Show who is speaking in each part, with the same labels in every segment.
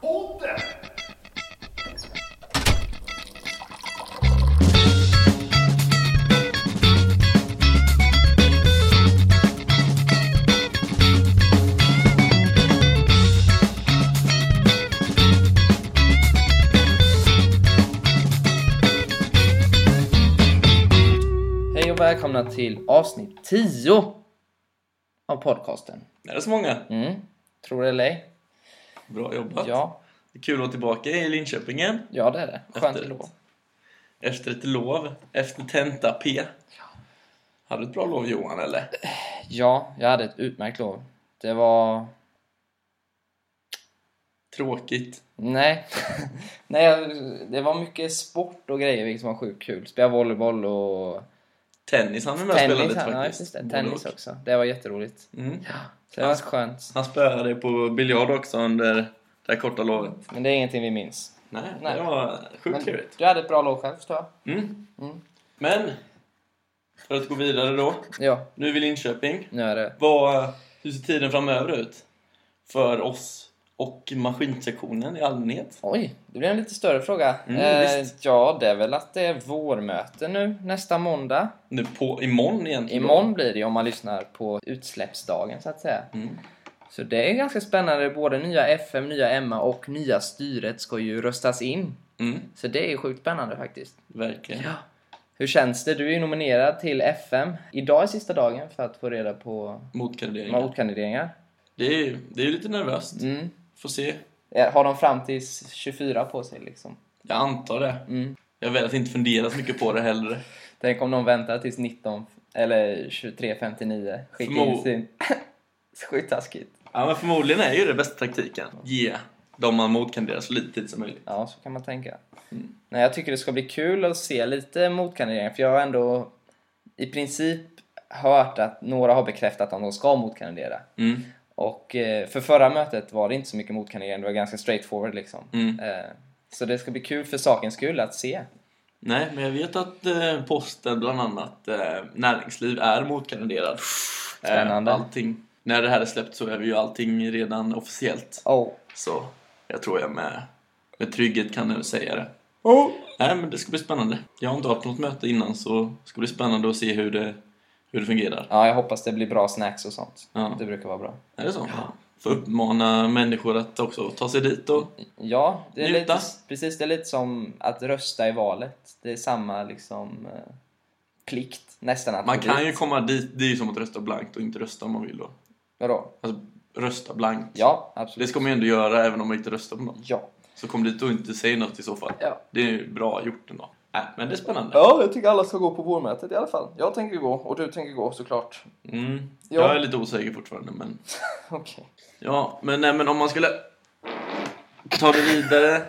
Speaker 1: podden!
Speaker 2: Hej och välkomna till avsnitt 10 av podcasten.
Speaker 3: Är det så många?
Speaker 2: Mm, tror det eller ej.
Speaker 3: Bra jobbat!
Speaker 2: Ja,
Speaker 3: Det är Kul att vara tillbaka i Linköpingen
Speaker 2: ja det är det. Skönt
Speaker 3: Efter-
Speaker 2: lov.
Speaker 3: efter ett lov, efter tenta-P. Hade du ett bra lov Johan eller?
Speaker 2: Ja, jag hade ett utmärkt lov. Det var...
Speaker 3: Tråkigt.
Speaker 2: Nej. Nej, jag- det var mycket sport och grejer vilket var sjukt kul. Spela volleyboll och
Speaker 3: Tennis hann vi med att spela
Speaker 2: tennis.
Speaker 3: lite
Speaker 2: Ja,
Speaker 3: faktiskt.
Speaker 2: just det.
Speaker 3: Både
Speaker 2: Tennis
Speaker 3: och.
Speaker 2: också. Det var jätteroligt.
Speaker 3: Mm.
Speaker 2: Ja, så det var skönt.
Speaker 3: Han spöade dig på biljard också under det här korta lovet.
Speaker 2: Men det är ingenting vi minns.
Speaker 3: Nej,
Speaker 2: Nej.
Speaker 3: det var
Speaker 2: Men
Speaker 3: sjukt trevligt.
Speaker 2: du hade ett bra lov själv förstår jag.
Speaker 3: Mm.
Speaker 2: Mm.
Speaker 3: Men, för att gå vidare då.
Speaker 2: Ja,
Speaker 3: Nu är vi i Linköping.
Speaker 2: nu är det...
Speaker 3: Vad, hur ser tiden framöver ut? För oss och maskinsektionen i allmänhet?
Speaker 2: Oj, det blir en lite större fråga.
Speaker 3: Mm,
Speaker 2: eh, ja, det är väl att det är vårmöte nu nästa måndag.
Speaker 3: Nu på, imorgon egentligen.
Speaker 2: Imorgon blir det ju om man lyssnar på utsläppsdagen så att säga.
Speaker 3: Mm.
Speaker 2: Så det är ganska spännande. Både nya FM, nya Emma och nya styret ska ju röstas in.
Speaker 3: Mm,
Speaker 2: Så det är sjukt spännande faktiskt.
Speaker 3: verkligen.
Speaker 2: Ja. Hur känns det? Du är ju nominerad till FM. Idag är sista dagen för att få reda på
Speaker 3: Motkandideringar.
Speaker 2: motkandideringar.
Speaker 3: Det är ju det är ju lite nervöst.
Speaker 2: Mm.
Speaker 3: Får se.
Speaker 2: Ja, Har de fram till 24 på sig liksom?
Speaker 3: Jag antar det.
Speaker 2: Mm.
Speaker 3: Jag väljer att inte fundera så mycket på det heller.
Speaker 2: Tänk om de väntar tills 19 eller 23.59. Skicka in
Speaker 3: Förmo-
Speaker 2: sin... Skittaskigt.
Speaker 3: Ja, men förmodligen är ju det bästa taktiken. Ge dem man motkandiderar så lite tid som möjligt.
Speaker 2: Ja, så kan man tänka. Mm. Nej, jag tycker det ska bli kul att se lite motkandidering, för jag har ändå i princip hört att några har bekräftat att de ska motkandidera.
Speaker 3: Mm.
Speaker 2: Och eh, för förra mötet var det inte så mycket motkandidering, det var ganska straightforward liksom.
Speaker 3: Mm.
Speaker 2: Eh, Så det ska bli kul för sakens skull att se.
Speaker 3: Nej, men jag vet att eh, posten, bland annat eh, näringsliv, är motkandiderad.
Speaker 2: Spännande.
Speaker 3: Eh, allting. När det här är släppt så är vi ju allting redan officiellt.
Speaker 2: Oh.
Speaker 3: Så jag tror jag med, med trygghet kan nu säga det. Nej, men det ska bli spännande. Jag har inte varit på något möte innan så det ska bli spännande att se hur det, hur det fungerar.
Speaker 2: Ja, jag hoppas det blir bra snacks och sånt.
Speaker 3: Ja.
Speaker 2: Det brukar vara bra.
Speaker 3: Är det så? Ja. Får uppmana människor att också ta sig dit och...
Speaker 2: Ja, det är
Speaker 3: Njuta.
Speaker 2: lite, precis. Det är lite som att rösta i valet. Det är samma liksom eh, plikt nästan att
Speaker 3: Man
Speaker 2: gå
Speaker 3: kan
Speaker 2: dit.
Speaker 3: ju komma dit, det är ju som att rösta blankt och inte rösta om man vill då.
Speaker 2: Vadå?
Speaker 3: Alltså, rösta blankt.
Speaker 2: Ja, absolut.
Speaker 3: Det ska man ju ändå göra även om man inte röstar på någon.
Speaker 2: Ja.
Speaker 3: Så kom dit och inte säg något i så fall.
Speaker 2: Ja.
Speaker 3: Det är ju bra gjort ändå. Nej, men det är spännande.
Speaker 2: ja, jag tycker alla ska gå på vårmötet i alla fall. Jag tänker gå och du tänker gå såklart.
Speaker 3: Mm.
Speaker 2: Ja.
Speaker 3: Jag är lite osäker fortfarande men...
Speaker 2: Okej.
Speaker 3: Ja, men, nej, men om man skulle ta det vidare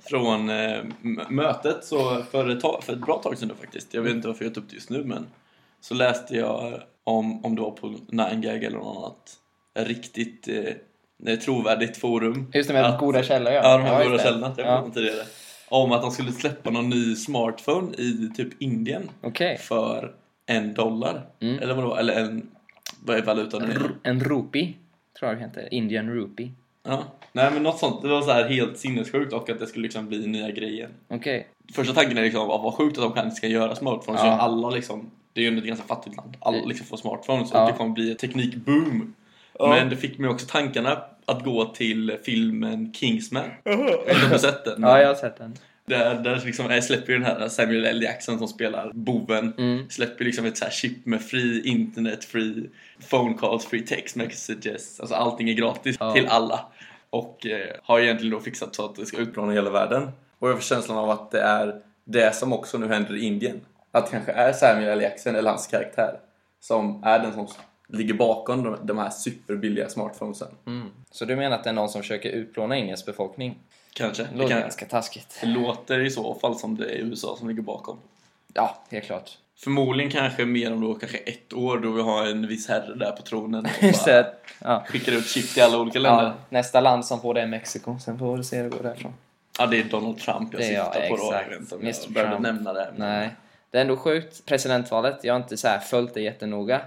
Speaker 3: från eh, m- mötet så för ett, tag, för ett bra tag sedan då faktiskt. Jag vet inte varför jag tog upp det just nu men så läste jag om, om det var på 9gag eller något annat riktigt eh, trovärdigt forum.
Speaker 2: Just det med
Speaker 3: Att-
Speaker 2: goda källor
Speaker 3: Ja, de här
Speaker 2: just
Speaker 3: goda
Speaker 2: det.
Speaker 3: källorna. typ. Jag
Speaker 2: Ja.
Speaker 3: pratade om tidigare. Om att de skulle släppa någon ny smartphone i typ Indien
Speaker 2: Okej.
Speaker 3: för en dollar.
Speaker 2: Mm.
Speaker 3: Eller vad det var, eller en... Vad är valutan nu igen?
Speaker 2: En rupi, tror jag det heter. Indian rupi.
Speaker 3: Ja. Nej men något sånt, det var så här helt sinnessjukt och att det skulle liksom bli nya grejer.
Speaker 2: Okej.
Speaker 3: Första tanken är liksom att vad sjukt att de kan, ska göra smartphones.
Speaker 2: Ja.
Speaker 3: Så alla liksom, det är ju ändå ett ganska fattigt land. Alla liksom får smartphones
Speaker 2: Ja.
Speaker 3: och det kommer bli ett teknikboom. Men det fick mig också tankarna att gå till filmen Kingsman. Jag vet inte om du har sett den?
Speaker 2: Ja, jag har sett den.
Speaker 3: Där, där liksom, äh, släpper ju den här Samuel L. Jackson som spelar boven.
Speaker 2: Mm.
Speaker 3: Släpper liksom ett så här chip med free internet, free phone calls, free text messages. Alltså allting är gratis
Speaker 2: Ja.
Speaker 3: till alla. Och eh, har egentligen då fixat så att det ska utplåna hela världen. Och jag får känslan av att det är det som också nu händer i Indien. Att det kanske är Samuel L. Jackson eller hans karaktär som är den som ligger bakom de, de här superbilliga smartphonesen.
Speaker 2: Mm. Så du menar att det är någon som försöker utplåna Indiens befolkning?
Speaker 3: Kanske.
Speaker 2: Det
Speaker 3: Det,
Speaker 2: låter
Speaker 3: kan,
Speaker 2: ganska taskigt.
Speaker 3: det låter i så fall som det är USA som ligger bakom.
Speaker 2: Ja, helt klart.
Speaker 3: Förmodligen kanske mer om då kanske ett år då vi har en viss herre där på tronen och
Speaker 2: Just
Speaker 3: bara
Speaker 2: det. Ja.
Speaker 3: skickar ut chip till alla olika länder.
Speaker 2: Ja,
Speaker 3: Ja,
Speaker 2: nästa land som får det är Mexiko, sen får vi se hur det går därifrån.
Speaker 3: det är Donald Trump jag
Speaker 2: Det är jag,
Speaker 3: syftar på då.
Speaker 2: exakt.
Speaker 3: Jag vet inte om
Speaker 2: Mr.
Speaker 3: jag behöver
Speaker 2: Trump.
Speaker 3: nämna det. men-
Speaker 2: Nej. Det är ändå sjukt, presidentvalet. Jag har inte så här följt det jättenoga.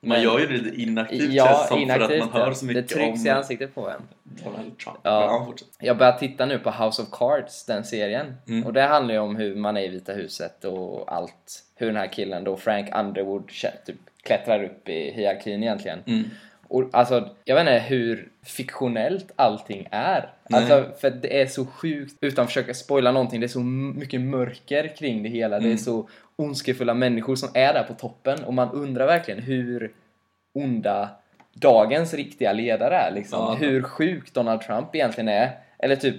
Speaker 3: Man gör ju det inaktivt känns det
Speaker 2: Ja,
Speaker 3: som för
Speaker 2: inaktivt.
Speaker 3: att man hör så
Speaker 2: det
Speaker 3: mycket
Speaker 2: trycks i
Speaker 3: om
Speaker 2: ansiktet på en.
Speaker 3: Donald Trump.
Speaker 2: Ja.
Speaker 3: Ja. han fortsätter.
Speaker 2: Jag börjar titta nu på House of Cards, den serien.
Speaker 3: Mm.
Speaker 2: Och det handlar ju om hur man är i Vita huset och allt. Hur den här killen då, Frank Underwood, kä- typ, klättrar upp i hierarkin egentligen.
Speaker 3: Mm.
Speaker 2: Och alltså, jag vet inte hur fiktionellt allting är.
Speaker 3: Nej.
Speaker 2: Alltså, för det är så sjukt, utan att försöka spoila någonting, det är så m- mycket mörker kring det hela. Det är
Speaker 3: Mm.
Speaker 2: så ondskefulla människor som är där på toppen och man undrar verkligen hur onda dagens riktiga ledare är. Liksom.
Speaker 3: Ja.
Speaker 2: Hur sjuk Donald Trump egentligen är. Eller typ,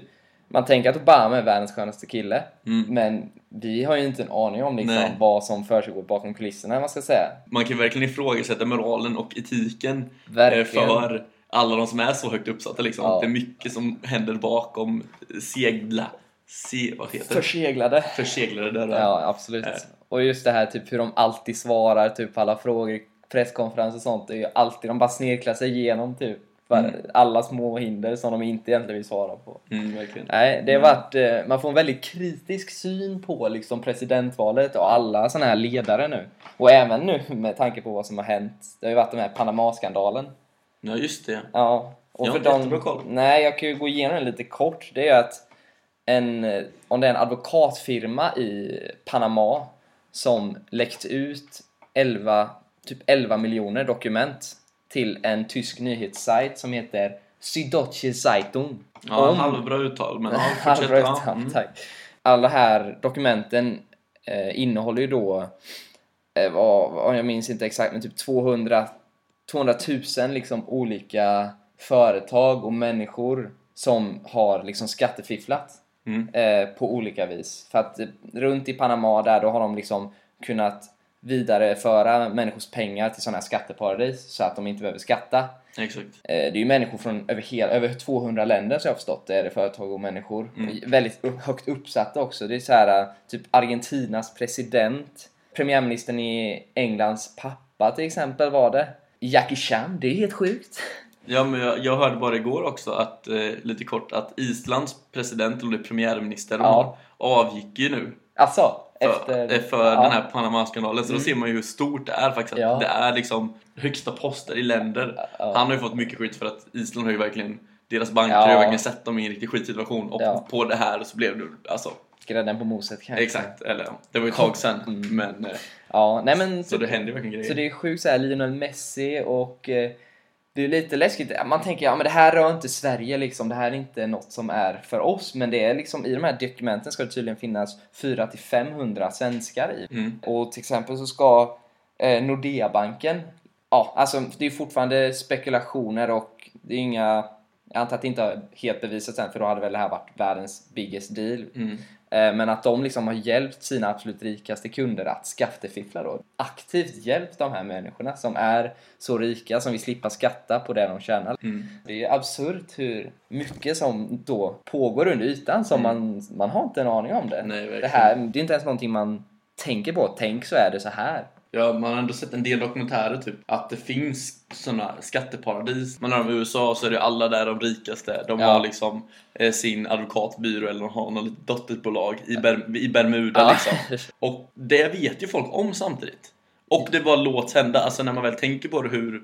Speaker 2: man tänker att Obama är världens skönaste kille,
Speaker 3: Mm.
Speaker 2: men vi har ju inte en aning om liksom,
Speaker 3: Nej.
Speaker 2: vad som försiggår bakom kulisserna, vad man ska säga.
Speaker 3: Man kan ju verkligen ifrågasätta moralen och etiken eh,
Speaker 2: Verkligen.
Speaker 3: för alla de som är så högt uppsatta liksom.
Speaker 2: Ja.
Speaker 3: Det är mycket som händer bakom segla... Se, vad heter det?
Speaker 2: Förseglade.
Speaker 3: Förseglade dörrar.
Speaker 2: Ja, absolut.
Speaker 3: Eh.
Speaker 2: Och just det här typ hur de alltid svarar typ på alla frågor, presskonferenser och sånt. Det är ju alltid, de bara snirklar sig igenom typ var- alla små hinder som de inte egentligen vill svara på.
Speaker 3: Mm, verkligen.
Speaker 2: Nej, det har varit, eh, man får en väldigt kritisk syn på liksom presidentvalet och alla sådana här ledare nu. Och även nu med tanke på vad som har hänt. Det har ju varit den här Panamaskandalen.
Speaker 3: Ja, just det.
Speaker 2: Ja.
Speaker 3: Jag har
Speaker 2: för
Speaker 3: inte
Speaker 2: de-
Speaker 3: jättebra koll.
Speaker 2: Nej, jag kan ju gå igenom den lite kort. Det är att en, eh, om det är en advokatfirma i Panama som läckt ut 11, typ 11 miljoner dokument till en tysk nyhetssajt som heter Süddeutsche Zeitung.
Speaker 3: Ja,
Speaker 2: Om-
Speaker 3: halvbra uttal, men ja, fortsätt.
Speaker 2: Halvbra
Speaker 3: Ja,
Speaker 2: uttal,
Speaker 3: mm.
Speaker 2: tack. Alla här dokumenten eh, innehåller ju då, eh, vad, vad, jag minns inte exakt, men typ 200, 200 000 liksom olika företag och människor som har liksom skattefifflat
Speaker 3: Mm.
Speaker 2: eh, på olika vis. För att eh, runt i Panama där, då har de liksom kunnat vidareföra människors pengar till sådana här skatteparadis så att de inte behöver skatta.
Speaker 3: Exakt.
Speaker 2: Eh, Det är ju människor från över, hela, över 200 länder som jag har förstått det, är det företag och människor.
Speaker 3: Mm.
Speaker 2: Och Väldigt upp, högt uppsatta också. Det är så här, eh, typ Argentinas president, premiärministern i Englands pappa till exempel var det. Jackie Chan, det är helt sjukt.
Speaker 3: Ja, men jag, jag hörde bara igår också att, eh, lite kort, att Islands president, eller premiärminister,
Speaker 2: Ja.
Speaker 3: avgick ju nu.
Speaker 2: Alltså, efter... Mm.
Speaker 3: För, eh, för den här Panamaskandalen. Så då ser man ju hur stort det är faktiskt. Att
Speaker 2: Ja.
Speaker 3: Det är liksom högsta poster i länder.
Speaker 2: Ja.
Speaker 3: Han har ju fått mycket skit för att Island har ju verkligen deras banker har ju
Speaker 2: Ja.
Speaker 3: verkligen sett dem i en riktigt skitsituation och
Speaker 2: Ja.
Speaker 3: på det här så blev det alltså
Speaker 2: Grädden på moset kanske.
Speaker 3: exakt eller ja, det var ju ett tag sedan men eh,
Speaker 2: Mm. Ja, nej men...
Speaker 3: så det händer ju verkligen grejer.
Speaker 2: Så det är sjukt såhär, Lionel Messi och eh, det är lite läskigt. Man tänker ja men det här rör inte Sverige liksom, det här är inte något som är för oss. Men det är liksom, i de här dokumenten ska det tydligen finnas 400-500 svenskar i.
Speaker 3: Mm.
Speaker 2: Och till exempel så ska eh, Nordea-banken, ja alltså det är fortfarande spekulationer och det är inga, jag antar att det inte har helt bevisats än för då hade väl det här varit världens biggest deal.
Speaker 3: Mm.
Speaker 2: Eh, Men att de liksom har hjälpt sina absolut rikaste kunder att skattefiffla då. Aktivt hjälpt de här människorna som är så rika som vill slippa skatta på det de tjänar.
Speaker 3: Mm.
Speaker 2: Det är ju absurt hur mycket som då pågår under ytan som man, man har inte en aning om det.
Speaker 3: Mm. Nej, verkligen.
Speaker 2: det, här, det är inte ens någonting man tänker på. Tänk så är det så här.
Speaker 3: Ja, man har ändå sett en del dokumentärer typ att det finns såna skatteparadis. Man har i USA så är det alla där de rikaste. De
Speaker 2: Ja.
Speaker 3: har liksom eh, sin advokatbyrå eller de har något litet dotterbolag i, Ber- i Bermuda
Speaker 2: Ja.
Speaker 3: liksom. Och det vet ju folk om samtidigt. Och det bara låts hända. Alltså när man väl tänker på det hur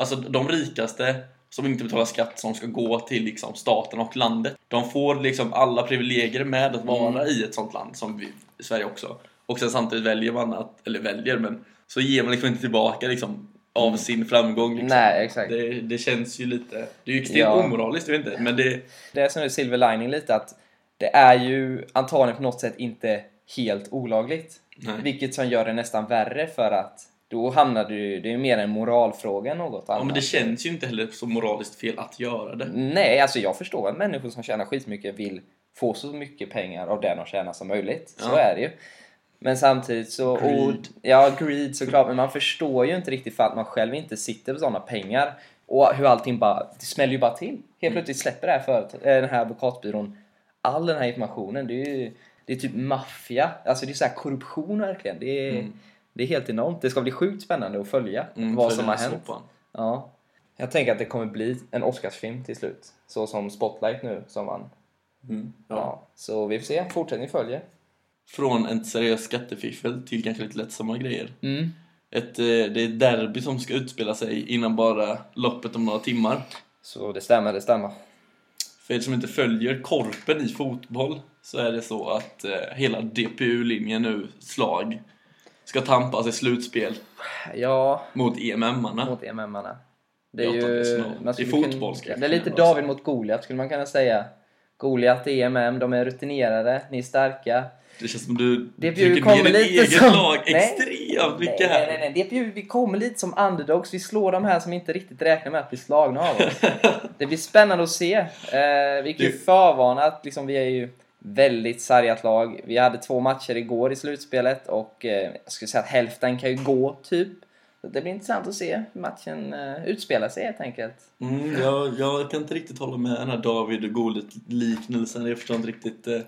Speaker 3: Alltså de rikaste som inte betalar skatt som ska gå till liksom staten och landet. De får liksom alla privilegier med att vara
Speaker 2: Mm.
Speaker 3: i ett sånt land som vi, Sverige också. Och sen samtidigt väljer man att, eller väljer men, så ger man liksom inte tillbaka liksom av sin framgång. Liksom.
Speaker 2: Mm. Nej, exakt.
Speaker 3: Det, det känns ju lite, det är ju extremt
Speaker 2: Ja.
Speaker 3: omoraliskt, jag vet inte, men det,
Speaker 2: Det är som är silver lining lite att det är ju antagligen på något sätt inte helt olagligt.
Speaker 3: Nej.
Speaker 2: Vilket som gör det nästan värre för att då hamnar du det är ju mer en moralfråga än något annat.
Speaker 3: ja, men det känns ju inte heller så moraliskt fel att göra det.
Speaker 2: Nej, alltså jag förstår att människor som tjänar skitmycket vill få så mycket pengar av det de tjänar som möjligt. Så
Speaker 3: Ja.
Speaker 2: är det ju. Men samtidigt så... Och,
Speaker 3: Greed.
Speaker 2: ja, greed såklart. Men man förstår ju inte riktigt för att man själv inte sitter på sådana pengar. Och hur allting bara... Det smäller ju bara till. Helt
Speaker 3: Mm.
Speaker 2: plötsligt släpper det här företag, eh, den här advokatbyrån all den här informationen. Det är ju... Det är typ maffia. Alltså det är så här korruption verkligen. Det är, det är helt enormt. Det ska bli sjukt spännande att följa
Speaker 3: Mm,
Speaker 2: vad
Speaker 3: för
Speaker 2: som
Speaker 3: den
Speaker 2: har
Speaker 3: här
Speaker 2: hänt.
Speaker 3: soppan.
Speaker 2: Ja. Jag tänker att det kommer bli en Oscarsfilm till slut. Så som Spotlight nu som vann.
Speaker 3: Mm,
Speaker 2: Ja.
Speaker 3: ja.
Speaker 2: Så vi får se. Fortsättning följer.
Speaker 3: Från en seriös skattefiffel till kanske lite lättsamma grejer.
Speaker 2: Mm.
Speaker 3: ett, eh, det är ett derby som ska utspela sig innan bara loppet om några timmar.
Speaker 2: Så det stämmer, det stämmer.
Speaker 3: För er som inte följer korpen i fotboll så är det så att eh, hela DPU-linjen nu, slag, ska tampas i slutspel
Speaker 2: Ja,
Speaker 3: mot E EMM-arna.
Speaker 2: mot EMM-arna. Det är
Speaker 3: Jag tar det
Speaker 2: ju...
Speaker 3: snart.
Speaker 2: man
Speaker 3: I
Speaker 2: skulle
Speaker 3: fotboll ska
Speaker 2: kunna,
Speaker 3: jag
Speaker 2: Det är lite
Speaker 3: kunna vara
Speaker 2: David mot Goliat skulle man kunna säga. Goliat är EMM, de är rutinerade, ni är starka.
Speaker 3: Det känns som du
Speaker 2: Det
Speaker 3: trycker
Speaker 2: kommer
Speaker 3: ner ditt
Speaker 2: lite
Speaker 3: eget
Speaker 2: som-
Speaker 3: lag
Speaker 2: Nej.
Speaker 3: extremt
Speaker 2: Nej,
Speaker 3: mycket
Speaker 2: nej, nej,
Speaker 3: här.
Speaker 2: nej. Det är, ju- vi kommer lite som underdogs, vi slår de här som inte riktigt räknar med att bli slagna av oss. Det blir spännande att se. Eh, vi kan ju
Speaker 3: Du-
Speaker 2: förvarna att liksom, vi är ju väldigt sargat lag. Vi hade två matcher igår i slutspelet och eh, jag skulle säga att hälften kan ju gå, typ. Så Det blir intressant att se hur matchen eh, utspelar sig helt enkelt.
Speaker 3: Mm, jag, jag kan inte riktigt hålla med den här David och Goliat-liknelsen. Jag förstår inte riktigt eh,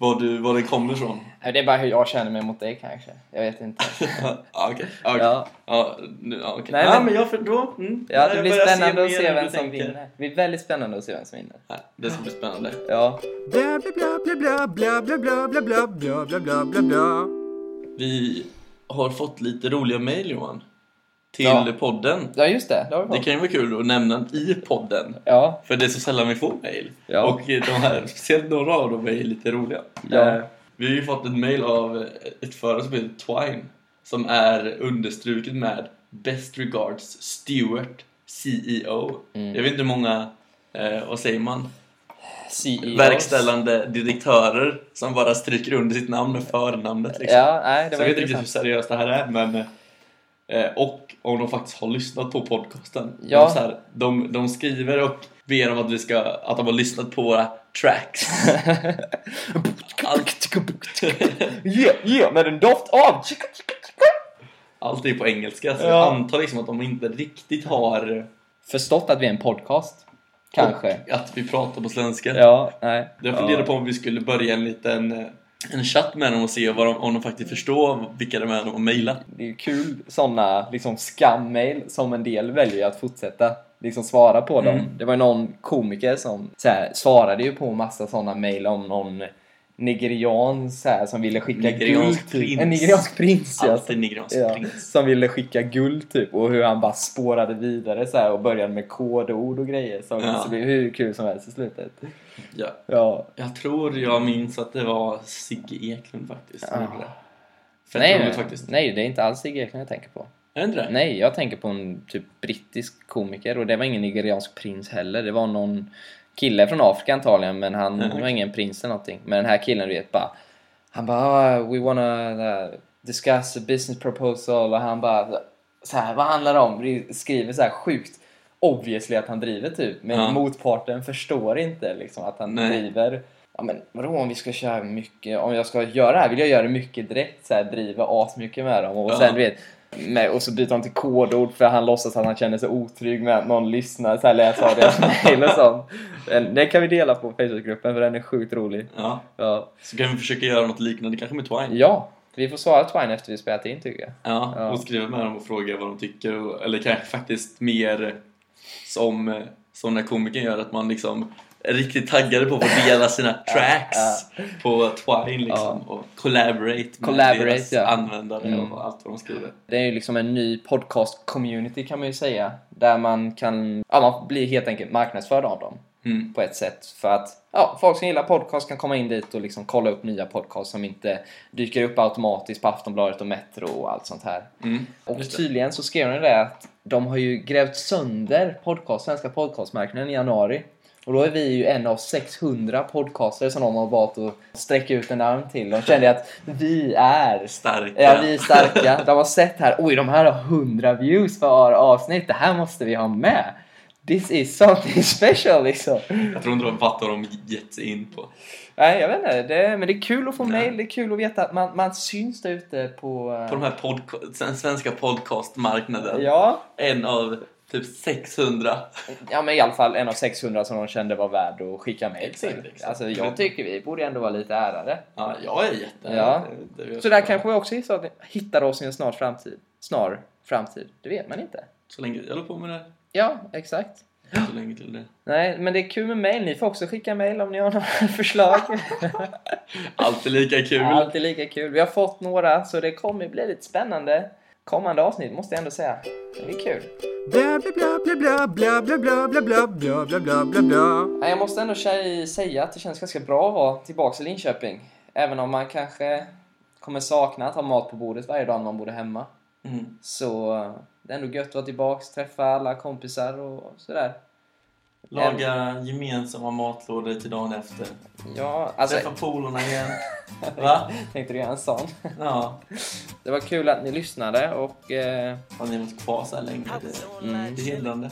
Speaker 3: var, du, var den kommer ifrån.
Speaker 2: Nej, Det är bara hur jag känner mig mot dig kanske. Jag vet inte.
Speaker 3: Ja, Okej. okej.
Speaker 2: Ja.
Speaker 3: Ja, nu- ja, okej.
Speaker 2: Nej,
Speaker 3: Nej, men,
Speaker 2: men-
Speaker 3: jag för då... Mm,
Speaker 2: Ja, det
Speaker 3: jag
Speaker 2: blir
Speaker 3: börjar
Speaker 2: spännande att
Speaker 3: mer
Speaker 2: se
Speaker 3: än
Speaker 2: vem
Speaker 3: du
Speaker 2: som
Speaker 3: tänker.
Speaker 2: vinner. Det blir väldigt spännande att se vem som vinner.
Speaker 3: Ja, Det ska bli spännande.
Speaker 2: Ja,
Speaker 1: Blah blah blah blah blah blah blah blah blah blah blah blah blah blah.
Speaker 3: Vi har fått lite roliga mejl, Johan. Till
Speaker 2: Ja.
Speaker 3: podden.
Speaker 2: ja just det. Det har vi
Speaker 3: Det
Speaker 2: fått.
Speaker 3: kan ju vara kul att nämna i podden.
Speaker 2: Ja,
Speaker 3: För det är så sällan vi får mejl.
Speaker 2: Ja.
Speaker 3: Och de här, speciellt några av dem är lite roliga.
Speaker 2: Ja.
Speaker 3: Eh, Vi har ju fått ett mejl av ett företag som heter Twine. Som är understruket med Best regards Stewart CEO.
Speaker 2: Mm.
Speaker 3: Jag vet inte hur många, eh, vad säger man?
Speaker 2: CEO.
Speaker 3: Verkställande direktörer som bara stryker under sitt namn och förnamnet liksom.
Speaker 2: Ja, nej, det
Speaker 3: Så
Speaker 2: var
Speaker 3: jag vet inte riktigt
Speaker 2: intressant.
Speaker 3: hur seriöst det här är men eh, Och om de faktiskt har lyssnat på podcasten
Speaker 2: Ja.
Speaker 3: de, så här, de, de skriver och ber om att vi ska Att de har lyssnat på våra tracks Allt,
Speaker 2: Ja, ja, med en doft av...
Speaker 3: allt är på engelska så
Speaker 2: Ja.
Speaker 3: jag antar liksom att de inte riktigt har
Speaker 2: Förstått att vi är en podcast. Kanske.
Speaker 3: och Att vi pratar på svenska
Speaker 2: Ja, nej.
Speaker 3: Jag funderar på om vi skulle börja en liten eh, En chatt med dem och se vad de, om de faktiskt förstår vilka de är de har mejlat
Speaker 2: Det är ju kul sådana liksom skammail som en del väljer att fortsätta liksom svara på dem.
Speaker 3: Mm.
Speaker 2: Det var ju någon komiker som så här, svarade ju på massa sådana mail om någon nigerian så här, som ville skicka
Speaker 3: Nigeriansk
Speaker 2: guld. till-
Speaker 3: prins.
Speaker 2: En nigeriansk prins. ja.
Speaker 3: Alltid nigeriansk
Speaker 2: Ja,
Speaker 3: prins
Speaker 2: som ville skicka guld typ och hur han bara spårade vidare så här och började med kodord och grejer som
Speaker 3: Ja.
Speaker 2: så blev hur kul som helst i slutet.
Speaker 3: ja.
Speaker 2: Ja.
Speaker 3: Jag tror jag minns att det var Sigge Eklund faktiskt som
Speaker 2: Ah.
Speaker 3: gjorde det. Fett
Speaker 2: Nej,
Speaker 3: roligt
Speaker 2: nej,
Speaker 3: faktiskt.
Speaker 2: nej, det är inte alls Sigge Eklund jag tänker på.
Speaker 3: Är det inte det?
Speaker 2: Nej, jag tänker på en typ brittisk komiker och det var ingen nigeriansk prins heller. Det var någon kille från Afrika antagligen men han
Speaker 3: Mhm.
Speaker 2: var ingen prins eller någonting. Men den här killen du vet bara han bara ah, “We wanna uh, discuss a business proposal” och han bara så här, “Vad handlar det om?” Skriver så här sjukt obviously att han driver typ men
Speaker 3: Ja.
Speaker 2: motparten förstår inte liksom att han
Speaker 3: Nej.
Speaker 2: driver Ja men vadå om vi ska köra mycket, om jag ska göra det här vill jag göra det mycket direkt så här, driva asmycket med dem och
Speaker 3: Ja.
Speaker 2: sen du vet med, och så byter han till kodord för han låtsas att han känner sig otrygg med att någon lyssnar så här läser av deras mejl och sånt. Den, den kan vi dela på Facebookgruppen för den är sjukt rolig.
Speaker 3: Ja.
Speaker 2: Ja,
Speaker 3: Så kan vi försöka göra något liknande, kanske med Twine.
Speaker 2: ja vi får svara Twine efter vi spelat in tycker jag.
Speaker 3: Ja.
Speaker 2: Ja.
Speaker 3: Och skriva med dem och fråga vad de tycker. och- Eller kanske faktiskt mer som, eh, som när komikern gör, att man liksom är riktigt taggade på att få dela sina tracks på Twine liksom. Och collaborate med
Speaker 2: Collaborate,
Speaker 3: deras
Speaker 2: ja.
Speaker 3: användare
Speaker 2: Mm.
Speaker 3: och allt vad de skriver.
Speaker 2: Det är ju liksom en ny podcast-community kan man ju säga. Där man kan, ja man blir helt enkelt marknadsförd av dem.
Speaker 3: Mm.
Speaker 2: på ett sätt för att ja, folk som gillar podcast kan komma in dit och liksom kolla upp nya podcast som inte dyker upp automatiskt på Aftonbladet och Metro och allt sånt här.
Speaker 3: Mm.
Speaker 2: Och
Speaker 3: Just det.
Speaker 2: tydligen så skrev de det att de har ju grävt sönder podcast, svenska podcastmarknaden i januari. Och då är vi ju en av 600 podcaster som de har valt att sträcka ut en arm till. De kände att vi är
Speaker 3: Starka.
Speaker 2: Ja, vi är starka. De har sett här, oj de här har 100 views för våra avsnitt, det här måste vi ha med. This is something special liksom.
Speaker 3: Jag tror inte de fattar vad de gett sig in på.
Speaker 2: Nej, jag vet inte. Det, men det är kul att få
Speaker 3: Nej.
Speaker 2: mail, det är kul att veta att man, man syns där ute på... eh,
Speaker 3: På de här podca- den svenska podcastmarknaden.
Speaker 2: Ja,
Speaker 3: En av typ 600.
Speaker 2: ja, men i alla fall en av 600 som de kände var värd att skicka mail
Speaker 3: Exakt,
Speaker 2: till.
Speaker 3: exakt.
Speaker 2: Alltså jag tycker vi borde ändå vara lite ärade.
Speaker 3: Ja, jag är jätte...
Speaker 2: Ja.
Speaker 3: Det, det
Speaker 2: Så där kanske vi också hittar- hittar oss i en snar framtid. Snar framtid, det vet man inte.
Speaker 3: Så länge jag håller på med det
Speaker 2: Ja, exakt.
Speaker 3: här. Så länge till det.
Speaker 2: Nej, men det är kul med mail. Ni får också skicka mail om ni har några förslag.
Speaker 3: Alltid lika kul.
Speaker 2: Alltid lika kul. Vi har fått några, så det kommer bli lite spännande. kommande avsnitt måste jag ändå säga. Det blir kul.
Speaker 1: Bla bla bla bla bla bla bla bla bla bla bla bla bla bla.
Speaker 2: Nej, Jag måste ändå tjej- säga att det känns ganska bra att vara tillbaka i Linköping. Även om man kanske kommer sakna att ha mat på bordet varje dag när man bor hemma.
Speaker 3: Mm.
Speaker 2: Så eh, det är ändå gött att vara tillbaka, träffa alla kompisar och sådär.
Speaker 3: Laga gemensamma matlådor till dagen efter.
Speaker 2: Ja, alltså...
Speaker 3: Träffa polarna igen. Va?
Speaker 2: Tänkte du göra en sån?
Speaker 3: Ja.
Speaker 2: Det var kul att ni lyssnade och... Eh,
Speaker 3: Har ni varit kvar så här länge? Det- Det är hindrande.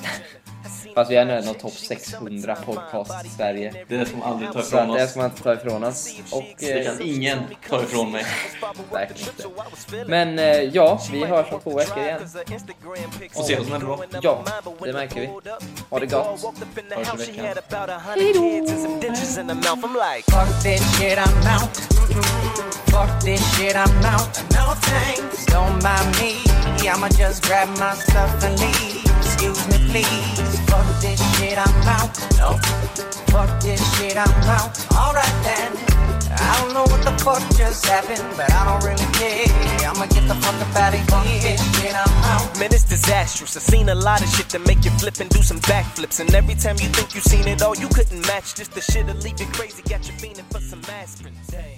Speaker 4: Fast vi är nu någon topp 600 podcast i Sverige.
Speaker 3: Det får man aldrig ta
Speaker 2: så
Speaker 3: ifrån
Speaker 2: att det
Speaker 3: oss.
Speaker 2: ska man inte ta ifrån oss. Och,
Speaker 3: Det
Speaker 2: eh,
Speaker 3: kan ingen ta ifrån mig.
Speaker 4: Verkligen inte.
Speaker 2: men eh, ja, vi hörs om två veckor igen.
Speaker 3: Och se vad som händer då.
Speaker 4: Ja, det märker vi. Ha det gott.
Speaker 3: Hörs i veckan.
Speaker 4: Hej då!
Speaker 5: Fuck this shit, I'm out. Fuck this shit, I'm out. No thanks. Don't mind me. I'ma just grab my stuff and leave. Excuse me, please. Fuck this shit, I'm out. No. Fuck this shit, I'm out. Alright then. I don't know what the fuck just happened, but I don't really care. I'ma get the fuck up out of here. Fuck this shit, I'm out.
Speaker 4: Man, it's disastrous. I've seen a lot of shit that make you flip and do some backflips. And every time you think you've seen it all, you couldn't match this. The shit'll leave you crazy. Got you fiending for some aspirin. Damn.